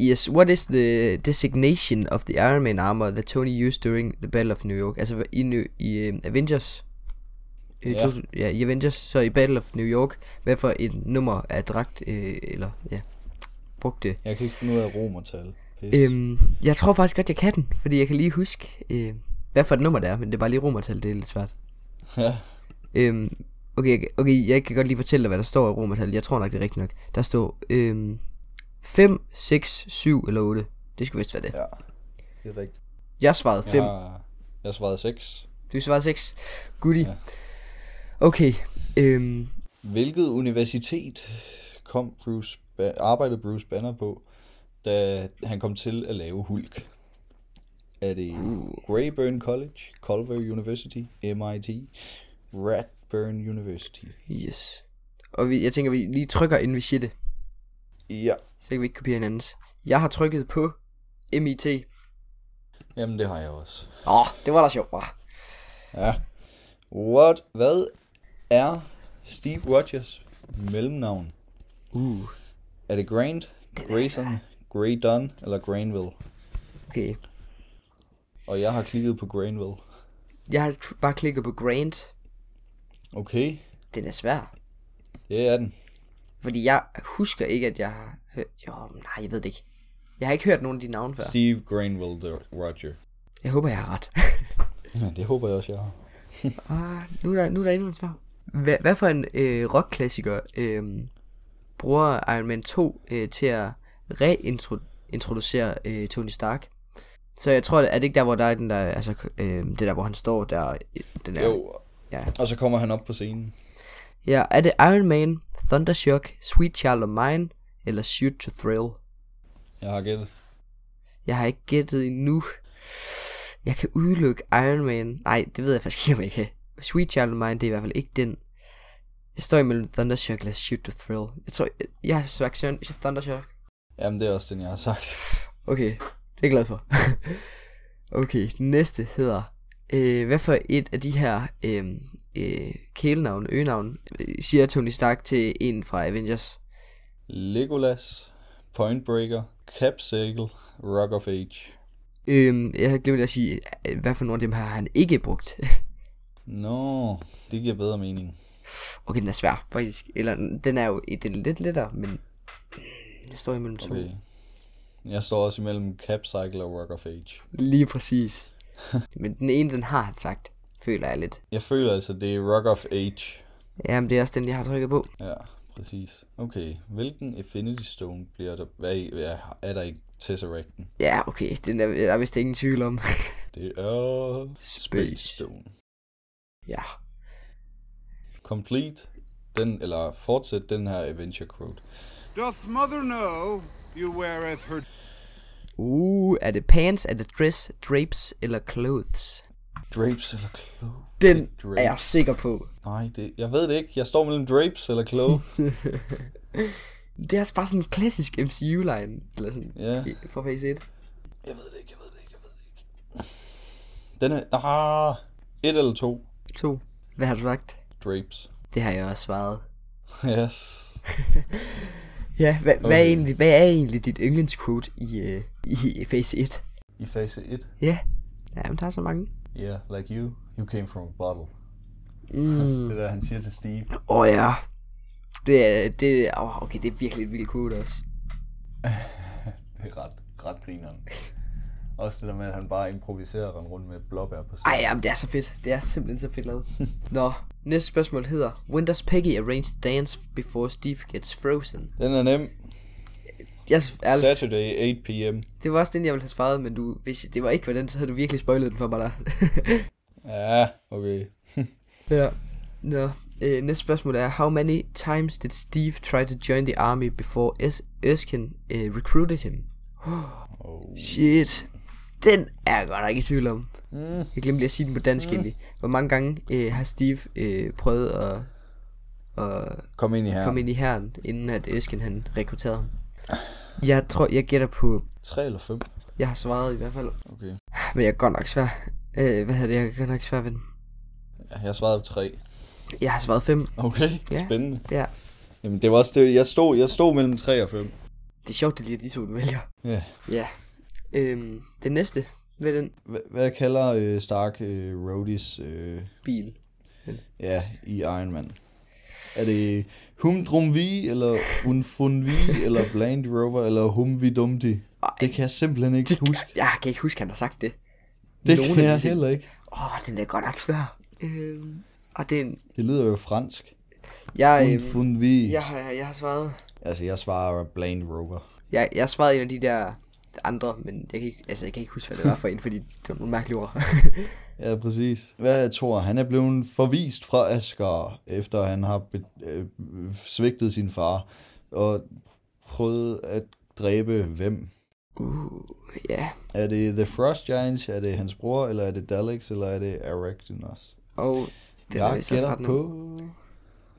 [SPEAKER 1] Yes, what is the designation of the Iron Man armor that Tony used during the Battle of New York? Altså i, New, i uh, Avengers øh,
[SPEAKER 2] Ja.
[SPEAKER 1] ja. ja, i Avengers, så i Battle of New York Hvad for et nummer af dragt, øh, eller ja, brugte
[SPEAKER 2] Jeg kan ikke finde ud af romertal. Pisse.
[SPEAKER 1] øhm, Jeg tror faktisk godt, jeg kan den, fordi jeg kan lige huske, øh, hvad for et nummer det er Men det er bare lige romertal, det er lidt svært
[SPEAKER 2] Ja.
[SPEAKER 1] Øhm, okay, jeg- okay, jeg kan godt lige fortælle dig, hvad der står i romertal. Jeg tror nok, det er rigtigt nok. Der står øhm, 5, 6, 7 eller 8. Det skulle vist være det. Ja.
[SPEAKER 2] ja, det er rigtigt.
[SPEAKER 1] Jeg svarede 5. Ja.
[SPEAKER 2] Jeg, jeg svarede 6.
[SPEAKER 1] Du svarede 6. Goodie.
[SPEAKER 2] Ja.
[SPEAKER 1] Ja. Okay. Øhm,
[SPEAKER 2] Hvilket universitet kom Bruce ba- arbejdede Bruce Banner på, da han kom til at lave Hulk? Er det Greyburn College, Culver University, MIT, Radburn University?
[SPEAKER 1] yes. Og vi, jeg tænker, vi lige trykker, inden vi siger det.
[SPEAKER 2] Ja,
[SPEAKER 1] Så kan vi ikke kopiere hinandens. Jeg har trykket på MIT.
[SPEAKER 2] jamen det har jeg også.
[SPEAKER 1] Åh, oh, det var da sjovt, hva'?
[SPEAKER 2] Ja. What? Hvad er Steve Rogers mellemnavn?
[SPEAKER 1] Uh.
[SPEAKER 2] Er det Grant, Grayson, Grey Dunn eller Granville?
[SPEAKER 1] Okay.
[SPEAKER 2] Og jeg har klikket på Granville.
[SPEAKER 1] Jeg har tr- bare klikket på Grant.
[SPEAKER 2] Okay,
[SPEAKER 1] Den er svær.
[SPEAKER 2] det er den.
[SPEAKER 1] Fordi jeg husker ikke, at jeg har hørt... Jo, men nej, jeg ved det ikke. Jeg har ikke hørt nogen af de navne før.
[SPEAKER 2] Steve Granville the Roger.
[SPEAKER 1] Jeg håber, jeg har ret.
[SPEAKER 2] Ja, det håber jeg også, jeg har.
[SPEAKER 1] ah, nu, er der, nu er der endnu en svar. Hva, hvad for en øh, rockklassiker øh, bruger Iron Man 2 øh, til at reintroducere øh, Tony Stark? Så jeg tror, er det ikke der, hvor der er den der, altså, øh, det der, hvor han står der, øh, den der,
[SPEAKER 2] Jo.
[SPEAKER 1] Ja.
[SPEAKER 2] Og så kommer han op på scenen.
[SPEAKER 1] Ja, er det Iron Man, Thundershock, Sweet Child of Mine, eller Shoot to Thrill?
[SPEAKER 2] Jeg har gættet.
[SPEAKER 1] Jeg har ikke gættet endnu. Jeg kan udelukke Iron Man. Nej, det ved jeg faktisk ikke, om jeg kan. Sweet Child of Mine, det er i hvert fald ikke den. Jeg står imellem Thundershock eller Shoot the Thrill. Jeg tror, jeg, jeg har sagt Søren- Thundershock.
[SPEAKER 2] Jamen, det er også den, jeg har sagt.
[SPEAKER 1] Okay, det er jeg glad for. okay, den næste hedder... Øh, hvad for et af de her øh, øh, kælenavne, øgenavne, øh, siger Tony Stark til en fra Avengers?
[SPEAKER 2] Legolas, Point Breaker, Capsicle, Rock of Age.
[SPEAKER 1] Øh, jeg havde glemt at sige, øh, hvad for nogle af dem har han ikke brugt.
[SPEAKER 2] Nå, no, det giver bedre mening.
[SPEAKER 1] okay, den er svær, faktisk. Eller, den er jo den er lidt lettere, men... Jeg står imellem to.
[SPEAKER 2] Okay. Jeg står også imellem Capsicle og Rock of Age.
[SPEAKER 1] Lige præcis. men den ene, den har han sagt, føler jeg lidt.
[SPEAKER 2] Jeg føler altså, det er Rock of Age.
[SPEAKER 1] Jamen, det er også den, jeg har trykket på.
[SPEAKER 2] Ja, præcis. Okay, hvilken Infinity Stone bliver der, hvad, hvad er der i Tesseracten?
[SPEAKER 1] Ja, okay, den er der er vist ingen tvivl om.
[SPEAKER 2] Det er Space Stone.
[SPEAKER 1] ja,
[SPEAKER 2] Complete den, eller fortsæt den her adventure quote.
[SPEAKER 4] Doth mother know you weareth her
[SPEAKER 1] Uh, er det pants, er det dress, drapes eller clothes?
[SPEAKER 2] Drapes eller clothes?
[SPEAKER 1] Den
[SPEAKER 2] drapes.
[SPEAKER 1] er jeg sikker på.
[SPEAKER 2] Nej, det, jeg ved det ikke. Jeg står mellem drapes eller clothes.
[SPEAKER 1] Det er også bare sådan en klassisk MCU-line, eller sådan,
[SPEAKER 2] Ja.
[SPEAKER 1] i- fra phase 1.
[SPEAKER 2] jeg ved det ikke, jeg ved det ikke, jeg ved det ikke. Den er... Ah, et eller to
[SPEAKER 1] To. Hvad har du sagt?
[SPEAKER 2] drapes.
[SPEAKER 1] Det har jeg også svaret.
[SPEAKER 2] Yes.
[SPEAKER 1] Ja, hva, okay. hvad, er
[SPEAKER 2] Okay.
[SPEAKER 1] egentlig, hvad er egentlig dit yndlingsquote i, øh, i phase 1?
[SPEAKER 2] I fase 1.
[SPEAKER 1] Ja, jamen der er så mange.
[SPEAKER 2] Yeah, like you. You came from a bottle.
[SPEAKER 1] Mm.
[SPEAKER 2] Det der, han siger til Steve.
[SPEAKER 1] Åh oh, ja. Det er, det er, oh, okay, det er virkelig et vildt quote også.
[SPEAKER 2] Det er ret, ret grineren. Også det der med, at han bare improviserer og render rundt med blåbær på sig.
[SPEAKER 1] Ej, jamen, det er så fedt. Det er simpelthen så fedt lavet. Nå, næste spørgsmål hedder, When does Peggy arrange dance before Steve gets frozen?
[SPEAKER 2] Den er nem.
[SPEAKER 1] Jeg, ærligt,
[SPEAKER 2] Saturday, 8 p.m.
[SPEAKER 1] det var også den, jeg ville have svaret, men du, hvis det var ikke for den, så havde du virkelig spoilet den for mig der.
[SPEAKER 2] Ja, okay.
[SPEAKER 1] ja. Nå, øh, næste spørgsmål er, How many times did Steve try to join the army before es- Erskine øh, recruited him? Oh. Shit. Den er jeg godt nok i tvivl om. Mm. Jeg glemte lige at sige den på dansk mm. egentlig. Hvor mange gange øh, har Steve øh, prøvet at
[SPEAKER 2] Kom ind i her.
[SPEAKER 1] kom ind i herren, inden at Øsken han rekrutterede ham. Jeg tror, jeg gætter på,
[SPEAKER 2] 3 eller 5.
[SPEAKER 1] jeg har svaret i hvert fald, Ah,
[SPEAKER 2] Okay.
[SPEAKER 1] men jeg er godt nok svær. Øh, hvad hedder det, jeg er godt nok svær ved den.
[SPEAKER 2] Ja, jeg svarede på 3.
[SPEAKER 1] Jeg har svaret 5.
[SPEAKER 2] Okay,
[SPEAKER 1] Ja.
[SPEAKER 2] spændende.
[SPEAKER 1] Ja.
[SPEAKER 2] Jamen, det var også det. Jeg stod, jeg stod mellem 3 og 5.
[SPEAKER 1] Det er sjovt, det lige er de to, du vælger.
[SPEAKER 2] Ja.
[SPEAKER 1] Ja. Øhm, den næste, ved den
[SPEAKER 2] H- hvad kalder øh, Stark øh, Rhodys øh,
[SPEAKER 1] bil.
[SPEAKER 2] ja, i Iron Man? Er det Humdrumvi, eller Unfunvi, eller Blind Rover, eller Humvidumdi? Det kan jeg simpelthen ikke huske.
[SPEAKER 1] Jeg kan ikke huske, han har sagt det.
[SPEAKER 2] Det
[SPEAKER 1] Nogle
[SPEAKER 2] kan
[SPEAKER 1] af
[SPEAKER 2] jeg
[SPEAKER 1] de ting.
[SPEAKER 2] heller ikke.
[SPEAKER 1] Åh, oh, den er godt nok svær. Øhm, og den,
[SPEAKER 2] Det lyder jo fransk.
[SPEAKER 1] jeg, øhm,
[SPEAKER 2] Unfunvi.
[SPEAKER 1] jeg, har, jeg har svaret,
[SPEAKER 2] Altså, jeg svarer Blind Rover.
[SPEAKER 1] jeg, jeg har svaret en af de der andre, men jeg kan ikke, altså, jeg kan ikke huske, hvad det var for en, fordi det var nogle mærkelige ord.
[SPEAKER 2] Ja, præcis. Hvad er Thor? Han er blevet forvist fra Asgard, efter han har be- øh, svigtet sin far og prøvet at dræbe hvem?
[SPEAKER 1] uh, ja. Yeah.
[SPEAKER 2] Er det The Frost Giants? Er det hans bror? Eller er det Daleks? Eller er det Arachnos?
[SPEAKER 1] Og den er
[SPEAKER 2] Jeg
[SPEAKER 1] vist også
[SPEAKER 2] gætter
[SPEAKER 1] ret nem.
[SPEAKER 2] på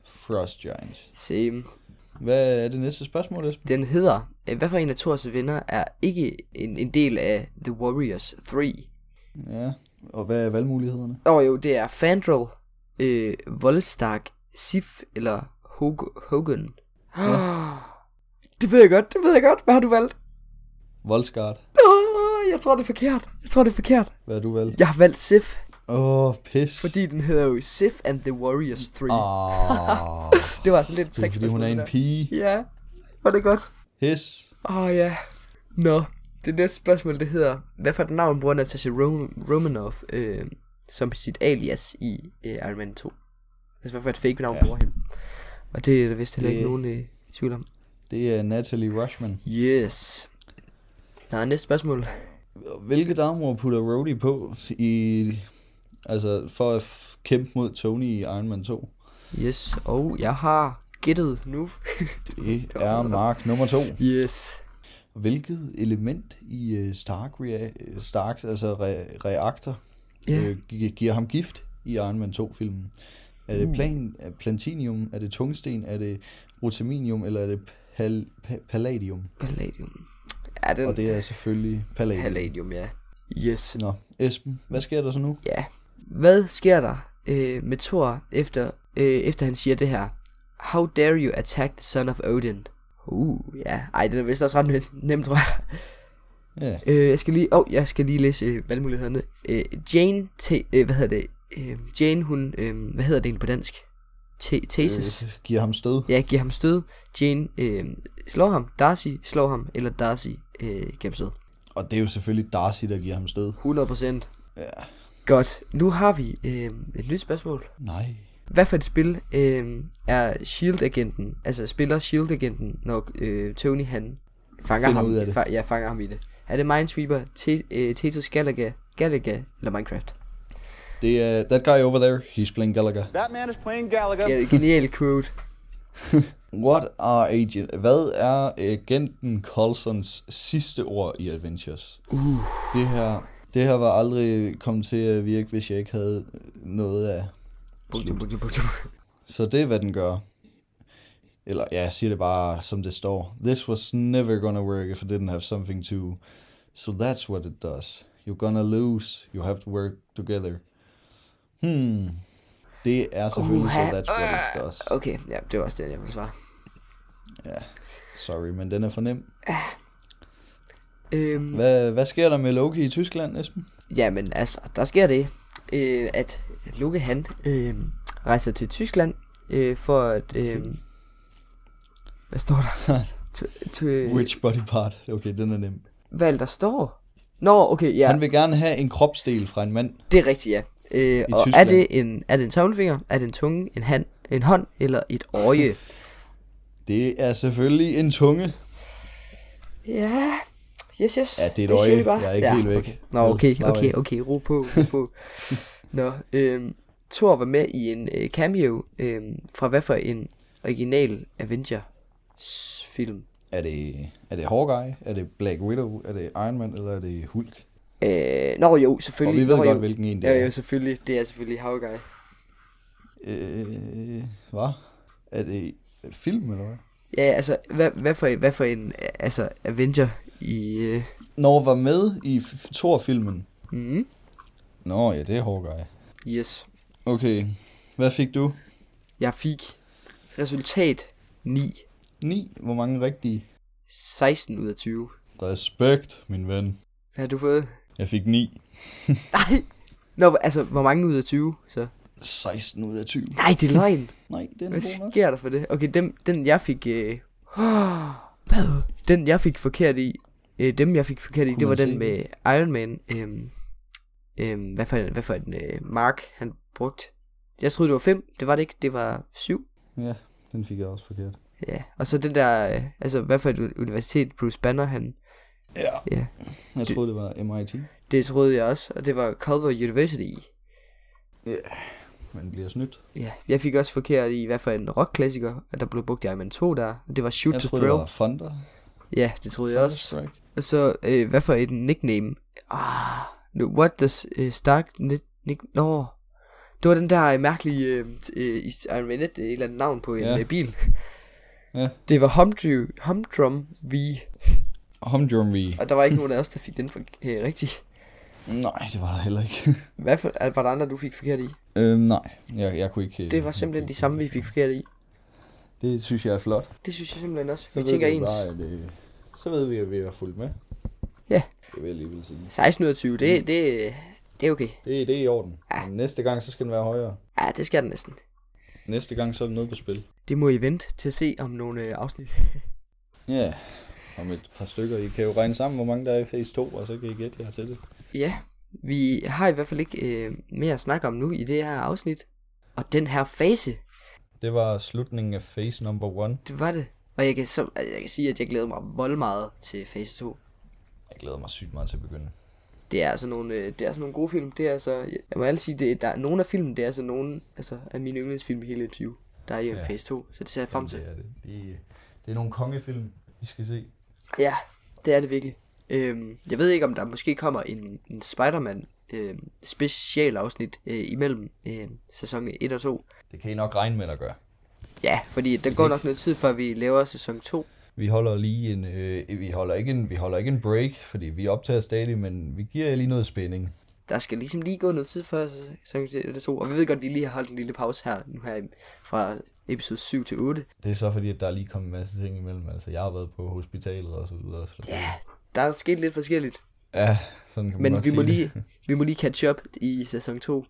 [SPEAKER 2] Frost Giants.
[SPEAKER 1] Same.
[SPEAKER 2] Hvad er det næste spørgsmål, Esben?
[SPEAKER 1] Den hedder, øh, hvad for en af Thors venner er ikke en, en del af The Warriors 3?
[SPEAKER 2] Ja. Og hvad er valgmulighederne?
[SPEAKER 1] Åh oh, jo, det er Fandral, øh, Volstark, Sif eller Hog- Hogan. Ja. Det ved jeg godt, det ved jeg godt. Hvad har du valgt?
[SPEAKER 2] Voldsgard.
[SPEAKER 1] Oh, jeg tror, det er forkert. Jeg tror, det er forkert.
[SPEAKER 2] Hvad er du valgt?
[SPEAKER 1] Jeg har valgt Sif,
[SPEAKER 2] Åh, oh, pis.
[SPEAKER 1] fordi den hedder jo Sif and the Warriors 3. Oh.
[SPEAKER 2] Ah,
[SPEAKER 1] Det var altså lidt et
[SPEAKER 2] det er fordi hun er en
[SPEAKER 1] trickspørgsmål,
[SPEAKER 2] pige.
[SPEAKER 1] det der. Ja, var det godt.
[SPEAKER 2] His.
[SPEAKER 1] Åh oh, ja. Nå, det næste spørgsmål, det hedder, hvad for et navn bruger Natasha Rom- Romanoff øh, som sit alias i øh, Iron Man 2? Altså, hvad for et fake navn ja. bruger hende? Og det er der vist heller
[SPEAKER 2] Det-
[SPEAKER 1] ikke nogen øh, tvivl om.
[SPEAKER 2] Det er Natalie Rushman.
[SPEAKER 1] Yes. Nå, næste spørgsmål.
[SPEAKER 2] Hvilke damer putter Rhodey på i, altså for at f- kæmpe mod Tony i Iron Man 2?
[SPEAKER 1] Yes, og jeg har gættet nu.
[SPEAKER 2] Det er Mark nummer 2.
[SPEAKER 1] Yes.
[SPEAKER 2] hvilket element i øh, Stark, rea- øh, Starks altså re- reaktor
[SPEAKER 1] Ja.
[SPEAKER 2] øh, gi- giver ham gift i Iron Man 2-filmen? Er det plan, er plantinium, er det tungsten, er det rutaminium, eller er det pal- pa- palladium?
[SPEAKER 1] Palladium. Ja, den
[SPEAKER 2] Og det er selvfølgelig palladium.
[SPEAKER 1] Palladium, ja. Yes.
[SPEAKER 2] Nå, Esben, hvad sker der så nu?
[SPEAKER 1] Ja. Hvad sker der øh, med Thor, efter, øh, efter han siger det her? How dare you attack the son of Odin? Uh, ja. Ej, den er vist også ret nem- nem, tror jeg.
[SPEAKER 2] Ja,
[SPEAKER 1] Øh, jeg skal lige, oh, jeg skal lige læse øh, valgmulighederne. Øh, Jane, te, øh, hvad hedder det? Øh, Jane, hun, øh, hvad hedder det egentlig på dansk? Te, tesis.
[SPEAKER 2] øh, giver ham stød.
[SPEAKER 1] Ja, giver ham stød. Jane øh, slår ham. Darcy slår ham. Eller Darcy øh, giver ham stød.
[SPEAKER 2] Og det er jo selvfølgelig Darcy, der giver ham stød.
[SPEAKER 1] 100 procent. Ja. Godt. Nu har vi øh, et nyt spørgsmål.
[SPEAKER 2] Nej.
[SPEAKER 1] Hvad for et spil øh, er S.H.I.E.L.D.-agenten, altså spiller S.H.I.E.L.D.-agenten, når øh, Tony han fanger
[SPEAKER 2] Finder
[SPEAKER 1] ham?
[SPEAKER 2] ud af det.
[SPEAKER 1] Fa- ja, fanger ham i det. Er det Minesweeper, Te- øh, Tetris Galaga, Galaga eller Minecraft?
[SPEAKER 2] Det er that guy over there, he's playing Gallagher.
[SPEAKER 4] That man is playing Gallagher.
[SPEAKER 1] Ja, genial quote.
[SPEAKER 2] What are agent... Hvad er agenten Coulsons sidste ord i Adventures? Uh. Det her, det her var aldrig kommet til at virke, hvis jeg ikke havde noget af...
[SPEAKER 1] Punktum, punktum, punktum.
[SPEAKER 2] Så det er, hvad den gør. Eller ja, jeg siger det bare, som det står. This was never gonna work if I didn't have something to... So that's what it does. You're gonna lose. You have to work together. Hmm. Det er selvfølgelig, uh, so
[SPEAKER 1] Uha. Øh,
[SPEAKER 2] that's what it does.
[SPEAKER 1] Okay, ja, det var også det, jeg ville svare.
[SPEAKER 2] Sorry, men den er for nem.
[SPEAKER 1] Øhm,
[SPEAKER 2] Hvad, hvad sker der med Loki i Tyskland, Esben?
[SPEAKER 1] jamen altså, der sker det, øh, at Luke han øh, rejser til Tyskland øh, for at... Øh, hvad står der? T- t-
[SPEAKER 2] Which body part? Okay, den er nem.
[SPEAKER 1] Hvad er det, der står? Nå, okay, ja.
[SPEAKER 2] Han vil gerne have en kropsdel fra en mand.
[SPEAKER 1] Det er rigtigt, ja. Øh, og er
[SPEAKER 2] Tyskland.
[SPEAKER 1] det, en, er det en tommelfinger, er det en tunge, en, hand, en hånd eller et øje?
[SPEAKER 2] Det er selvfølgelig en tunge.
[SPEAKER 1] ja, yes, yes.
[SPEAKER 2] Ja, det er et øje.
[SPEAKER 1] siger vi
[SPEAKER 2] Jeg er ikke helt væk.
[SPEAKER 1] Okay. Nå, okay, okay, okay, ro på, ro på. Nå, øhm, Thor var med i en øh, cameo øhm, fra hvad for en original Avengers-film?
[SPEAKER 2] Er det, er det Hawkeye? Er det Black Widow? Er det Iron Man? Eller er det Hulk?
[SPEAKER 1] Øh, nå jo, selvfølgelig.
[SPEAKER 2] Og vi ved
[SPEAKER 1] nå,
[SPEAKER 2] godt,
[SPEAKER 1] jo.
[SPEAKER 2] hvilken en det
[SPEAKER 1] Ja,
[SPEAKER 2] er.
[SPEAKER 1] jo, selvfølgelig. Det er selvfølgelig Hawkeye.
[SPEAKER 2] Øh, hvad? Er det et film, eller hvad?
[SPEAKER 1] Ja, altså, hvad, hvad, for, hvad for en altså, Avenger i... Øh,
[SPEAKER 2] Når var med i f- Thor-filmen.
[SPEAKER 1] mm,
[SPEAKER 2] Nå ja, det er Hawkeye.
[SPEAKER 1] yes.
[SPEAKER 2] Okay, hvad fik du?
[SPEAKER 1] Jeg fik resultat 9.
[SPEAKER 2] 9. Hvor mange rigtige?
[SPEAKER 1] 16 ud af 20.
[SPEAKER 2] Respekt, min ven.
[SPEAKER 1] Hvad har du fået?
[SPEAKER 2] Jeg fik 9.
[SPEAKER 1] Nej! Nå, altså, hvor mange ud af 20, så?
[SPEAKER 2] 16 ud af 20.
[SPEAKER 1] Nej, det er løgn.
[SPEAKER 2] Nej, den er
[SPEAKER 1] Hvad
[SPEAKER 2] god nok.
[SPEAKER 1] sker der for det? Okay, dem, den jeg fik... Øh... Hvad? Den jeg fik forkert i... Øh, dem jeg fik forkert i,
[SPEAKER 2] Kunne
[SPEAKER 1] det var
[SPEAKER 2] man
[SPEAKER 1] den
[SPEAKER 2] se
[SPEAKER 1] med Iron Man. Øhm, øhm, hvad for en, hvad for en øh, mark han brugte? Jeg troede, det var 5. Det var det ikke. Det var 7.
[SPEAKER 2] Ja, den fik jeg også forkert.
[SPEAKER 1] Ja, og så den der... Øh, altså, hvad for et u- universitet Bruce Banner, han...
[SPEAKER 2] Ja.
[SPEAKER 1] Ja.
[SPEAKER 2] Jeg troede, det var MIT.
[SPEAKER 1] Det troede jeg også, og det var Culver University.
[SPEAKER 2] Man bliver snydt.
[SPEAKER 1] Ja, jeg fik også forkert i, hvad for en rockklassiker, at der blev brugt i Iron Man 2 der, og det var Shoot
[SPEAKER 2] Jeg
[SPEAKER 1] to
[SPEAKER 2] troede,
[SPEAKER 1] Thrill.
[SPEAKER 2] det var Thunder.
[SPEAKER 1] Ja, det troede jeg også.
[SPEAKER 2] Strike.
[SPEAKER 1] Og så, øh, hvad for et nickname? Ah, no, what does øh, Stark nick... nick Nå, det var den der øh, mærkelige øh, t- øh, i Iron Man 1, øh, et eller andet navn på en
[SPEAKER 2] Ja.
[SPEAKER 1] øh, bil.
[SPEAKER 2] Ja.
[SPEAKER 1] Det var Humdrum, Humdrum V,
[SPEAKER 2] Humdrum V.
[SPEAKER 1] og der var ikke nogen af os, der fik den for, øh, rigtig.
[SPEAKER 2] Nej, det var der heller ikke.
[SPEAKER 1] Hvad for, øh, var der andre, du fik forkert i?
[SPEAKER 2] øhm, nej, jeg, jeg kunne ikke... øh,
[SPEAKER 1] Det var
[SPEAKER 2] jeg
[SPEAKER 1] simpelthen
[SPEAKER 2] kunne
[SPEAKER 1] de samme, vi fik forkert i.
[SPEAKER 2] ikke- Det synes jeg er flot.
[SPEAKER 1] Det synes jeg simpelthen også.
[SPEAKER 2] Så
[SPEAKER 1] Vi
[SPEAKER 2] ved
[SPEAKER 1] tænker
[SPEAKER 2] vi
[SPEAKER 1] ens.
[SPEAKER 2] Bare, at, øh, så ved vi, at vi har fulgt med.
[SPEAKER 1] Ja.
[SPEAKER 2] Det vil jeg alligevel sige.
[SPEAKER 1] 16 ud af 20, det, det, det er okay.
[SPEAKER 2] Det, det er i orden. Men næste gang, så skal den være højere.
[SPEAKER 1] Ja, det skal den næsten.
[SPEAKER 2] Næste gang, så er der noget på spil.
[SPEAKER 1] Det må I vente til at se om nogle øh, afsnit.
[SPEAKER 2] Ja, om et par stykker. I kan jo regne sammen, hvor mange der er i phase 2, og så kan I gætte jer til det.
[SPEAKER 1] Ja, vi har i hvert fald ikke øh, mere at snakke om nu i det her afsnit. Og den her fase,
[SPEAKER 2] Det var slutningen af phase number 1.
[SPEAKER 1] det var det. Og jeg kan, så, altså, jeg kan sige, at jeg glæder mig vold meget til fase 2.
[SPEAKER 2] Jeg glæder mig sygt meget til at begynde.
[SPEAKER 1] Det er altså nogle, øh, det er altså nogle gode film. Det er altså, jeg må alle sige, det, er- der er nogle af filmen, det er altså nogle altså, af mine yndlingsfilm i hele 20. Der er i ja. fase 2, så det ser jeg frem til.
[SPEAKER 2] Det er, det. Det, er, det er nogle kongefilm, vi skal se.
[SPEAKER 1] Ja, det er det virkelig. Øhm, jeg ved ikke, om der måske kommer en, en Spider-Man øhm, specialafsnit øh, imellem øh, sæson 1 og 2.
[SPEAKER 2] Det kan I nok regne med, at gøre.
[SPEAKER 1] Ja, fordi der går nok noget tid, før vi laver sæson 2.
[SPEAKER 2] Vi holder lige en, øh, vi holder ikke en, vi holder ikke en break, fordi vi optager stadig, men vi giver jer lige noget spænding.
[SPEAKER 1] Der skal ligesom lige gå noget tid før sæson 1 og 2. Og vi ved godt, at vi lige har holdt en lille pause her, nu her i- fra episode 7 til 8.
[SPEAKER 2] Det er så fordi, at der er lige kommet en masse ting imellem. Altså, jeg har været på hospitalet og så videre. Så.
[SPEAKER 1] Ja, der er sket lidt forskelligt.
[SPEAKER 2] Ja, sådan kan man
[SPEAKER 1] Men
[SPEAKER 2] godt
[SPEAKER 1] vi
[SPEAKER 2] sige
[SPEAKER 1] må,
[SPEAKER 2] det.
[SPEAKER 1] lige, vi må lige catch up i sæson 2.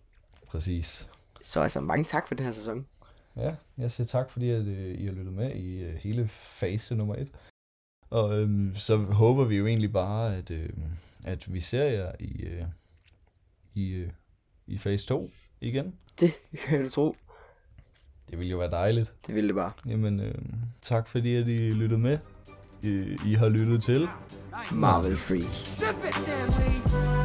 [SPEAKER 2] Præcis.
[SPEAKER 1] Så altså mange tak for den her sæson.
[SPEAKER 2] Ja, jeg siger tak, fordi at, øh, I har lyttet med i øh, hele fase nummer et. Og øhm, så håber vi jo egentlig bare, at, øh, at vi ser jer i, øh, i, øh, i fase 2 igen.
[SPEAKER 1] Det kan du tro.
[SPEAKER 2] Det ville jo være dejligt.
[SPEAKER 1] Det ville det bare.
[SPEAKER 2] Jamen, øh, tak fordi at I lyttede med. I, I har lyttet til.
[SPEAKER 1] Marvel Free.
[SPEAKER 7] Zip it, Stanley!